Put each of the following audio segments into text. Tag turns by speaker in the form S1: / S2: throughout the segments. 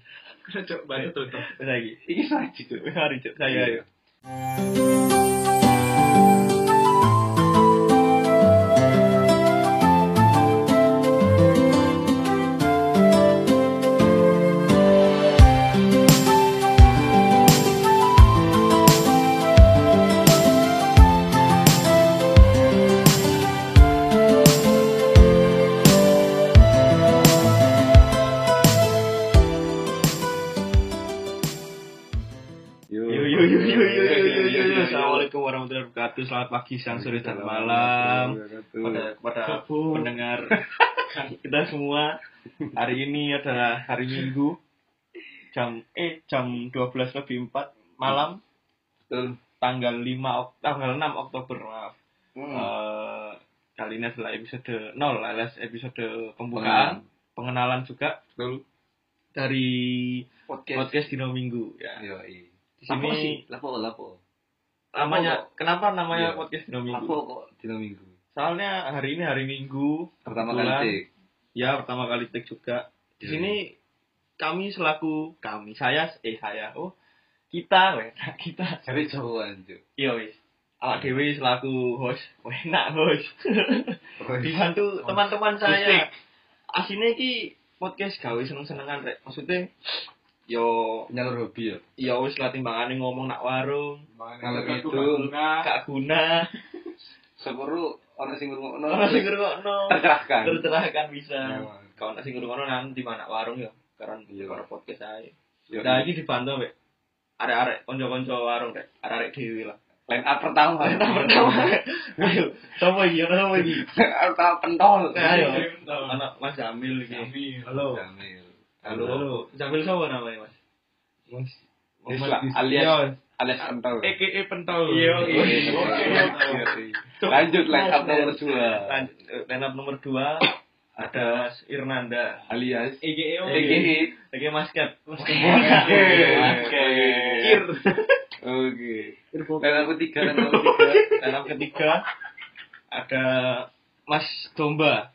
S1: これちょ、バイト取ると。
S2: うなぎ。行きそうって言って、歩いて、うなぎがいる。
S1: ゆ
S2: Yo yo yo yo yo yo yo yo.
S1: Assalamualaikum.
S2: Assalamualaikum warahmatullahi wabarakatuh. Selamat pagi, siang, sore, dan malam. Pada kepada
S1: Subuh.
S2: pendengar kita semua. Hari ini adalah hari Minggu. Jam eh jam 12 lebih 4 malam
S1: Betul.
S2: tanggal 5 Ok- tanggal 6 Oktober maaf.
S1: Hmm.
S2: Eh, kali ini adalah episode 0 alias episode pembukaan, pengenalan juga
S1: Betul.
S2: dari
S1: Podcast.
S2: podcast Dino Minggu ya.
S1: Yo,
S2: Di sini
S1: lapo lapo.
S2: namanya kenapa namanya
S1: Iya.
S2: podcast Dino Minggu?
S1: Lapo kok dino minggu.
S2: Soalnya hari ini hari Minggu,
S1: Pertama kali
S2: Kebetulan.
S1: take.
S2: ya pertama kali take juga. Di
S1: Iya.
S2: sini kami selaku kami, saya eh saya oh kita weh, kita
S1: Cari cowok anjir.
S2: yo wis. Awak Dewi selaku host, enak host. Dibantu teman-teman saya. Asine iki podcast gawe seneng-senengan rek. Maksudnya yo
S1: Nyalur hobi ya.
S2: ya wis lah timbangane ngomong nak warung,
S1: Kalau gitu,
S2: gak guna.
S1: sepuru orang sing ngurungokno.
S2: Ora sing ngrungokno.
S1: tercerahkan.
S2: Tercerahkan bisa.
S1: Memang.
S2: Kalau nak sing ngrungokno nang di mana warung ya, karena di
S1: Iya.
S2: karo podcast ae.
S1: Yo,
S2: Nah, iki dibantu wek. Arek-arek kanca-kanca warung rek, arek-arek dhewe lah.
S1: Line up pertama.
S2: Line up pertama. Ayo, sapa iki? Ora sapa iki?
S1: Line up pertama pentol.
S2: Ayo. Anak Mas Jamil iki. Halo.
S1: Jamil.
S2: Halo. Jamil sapa namanya, Mas?
S1: Mas.
S2: Muhammad
S1: Islam,
S2: Islam.
S1: alias alias pentol.
S2: E Eh,
S3: EKE pentol.
S2: Iya,
S1: Iya,
S2: iya,
S1: iya,
S2: oke,
S1: iya.
S2: oke.
S1: Lanjut line up nomor dua.
S2: Lan- eh, Line up nomor 2 ada Mas Irnanda. E
S1: Alias
S3: EGE
S1: E
S2: Oke.
S1: EGE.
S2: Oke, E Mas Kat.
S1: E Oke.
S2: Oke. Ir.
S1: Oke. Line up ketiga, line up ketiga.
S2: Line up ketiga ada Mas Domba.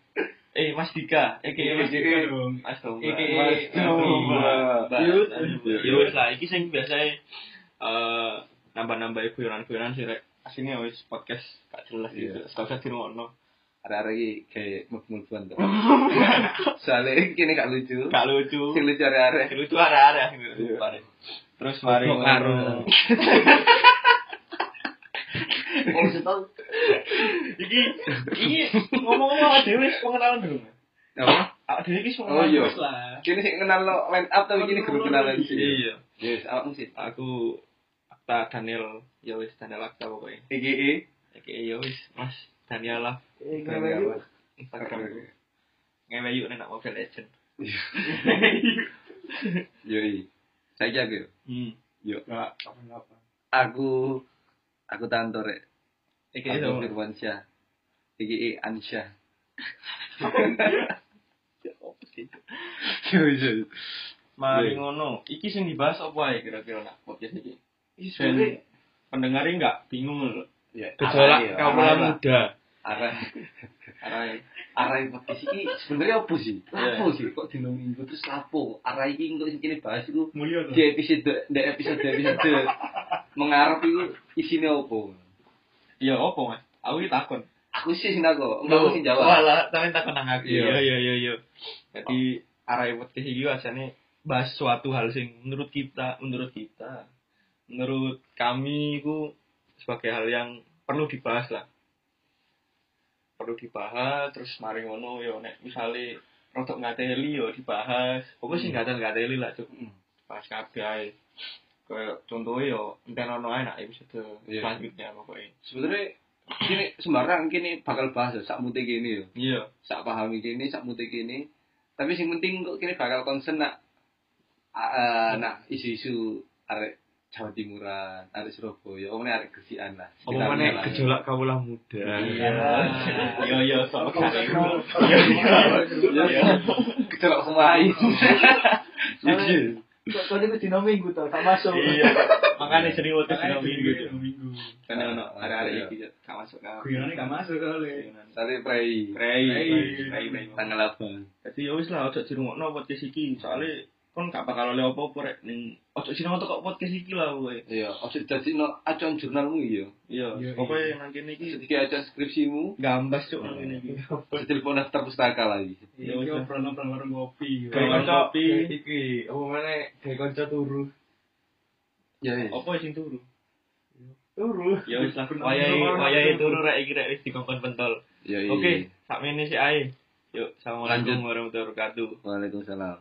S2: Eh, Mas Dika. Oke,
S1: Iya,
S2: Mas
S1: iya.
S2: Dika. Mas Domba.
S3: Iki.
S1: Mas Domba.
S2: Yus, yus lah. Iki sing biasanya eh nambah-nambah guyonan-guyonan sih rek. Asine wis podcast gak jelas
S1: Iya.
S2: gitu. Stop di rumahno.
S1: Ada lagi kayak muf-mufan tuh. Soalnya kini gak lucu.
S2: Gak lucu.
S1: Sing lucu ada-ada.
S2: Sing lucu ada-ada sing lucu,
S1: Iya.
S2: pare. Terus mari ngono.
S1: Goblok aru.
S2: Iki iki ngomong-ngomong awak dhewe wis pengenalan belum?
S1: Apa?
S2: Awak dhewe iki wis
S1: Oh
S2: pengenalan
S1: iya.
S2: wis lah.
S1: Kini sih kenal lo line up tapi kini guru kenalan sih.
S2: Iya.
S1: Yes, awakmu sih.
S2: Aku Akta Daniel, ya wis Daniel Akta pokoknya.
S1: EGE.
S2: Oke, ya wis Mas Daniel lah Instagram.
S1: Oke.
S2: Ngeweyu nek nak Mobile Legend.
S1: Yoi. Saiki aku yo.
S2: Hmm.
S1: Yo. Aku aku tantor rek.
S2: Iki
S1: Aku
S2: sama.
S1: Firwansyah. EGE Ansyah. Yo yo.
S2: Mari
S1: Iya.
S2: ngono. Iki sing dibahas apa ae kira-kira nak podcast iki? Ben, pendengar ini nggak bingung loh.
S1: Arah,
S3: Gejolak
S1: Ya, arah,
S3: kamulan muda.
S1: Arah
S2: Arai.
S1: arah podcast iki sebenarnya apa sih?
S2: Iya.
S1: Lapo sih kok dino minggu terus lapo? Arah iki engko sing kene bahas iku
S3: Mulya
S1: di episode di episode episode mengarep iku isine opo?
S2: Iya apa mas? Aku ini takon.
S1: Aku sih sing aku, enggak aku sing jawab.
S2: Walah, tapi takon nang aku.
S1: Iya.
S2: iya iya iya. Jadi arai podcast iki biasanya bahas suatu hal sing menurut kita, menurut kita, menurut kami itu sebagai hal yang perlu dibahas lah. Perlu dibahas terus mari ngono yo nek misale rotok ngateli yo dibahas. Pokoknya sing ngatel-ngateli lah Cuk.
S1: Hmm.
S2: pas kabeh ae. Kayak contohnya yo enten ono ae nak episode
S1: Iya.
S2: selanjutnya pokoknya.
S1: Sebenarnya kini sembarang kini bakal bahas ya, sak mute kini yo.
S2: Iya.
S1: Sak pahami kini, sak mute kini. Tapi sing penting kok kini bakal konsen nak eh, nak isu-isu arek Jawa Timuran, arek Surabaya, omongnya arek Gesian lah. Sekitarnya
S3: Omongane
S1: lah.
S3: gejolak kamulan muda.
S1: Iya.
S2: Yo yo sok.
S1: Iya, iya. Iya. Gejolak kemarin. Iya.
S4: Soalnya itu dino minggu tau, tak masuk.
S2: Iya. Makanya jadi waktu dino minggu.
S3: minggu.
S2: Karena ono hari-hari
S1: Iya.
S2: iki gak masuk kan.
S3: Guyonane gak masuk kali.
S1: Tapi pray.
S2: Prei,
S3: Prei,
S2: prei, prei.
S1: Tanggal 8.
S2: Jadi ya wis lah ojo dirungokno podcast iki, soalnya kon gak bakal oleh apa-apa rek ning ojo sinau kok podcast iki lah kowe.
S1: Iya, ojo dadi no acuan jurnalmu iya.
S2: Iya,
S3: Iya,
S2: pokoke
S3: iya.
S2: nang kene iki
S1: Iki acuan skripsimu,
S2: gambas cuk nang kene iki.
S1: telepon daftar pustaka lagi.
S3: Iya, ngobrol-ngobrol warung
S2: Kayak
S3: kopi.
S2: Oh,
S3: Warung
S2: kanca-
S3: kopi. Iki, apa mana? Kayak kanca turu.
S1: Ya wis.
S2: Apa sing turu?
S3: Turu.
S2: Ya wis lah,
S3: Bener,
S2: wayahe
S3: bener,
S2: wayahe
S3: bener.
S2: turu rek iki rek wis dikongkon pentol.
S1: Ya iya.
S2: Oke, sakmene sik ae. Yuk,
S1: Lanjut.
S2: Assalamualaikum warahmatullahi wabarakatuh.
S1: Waalaikumsalam.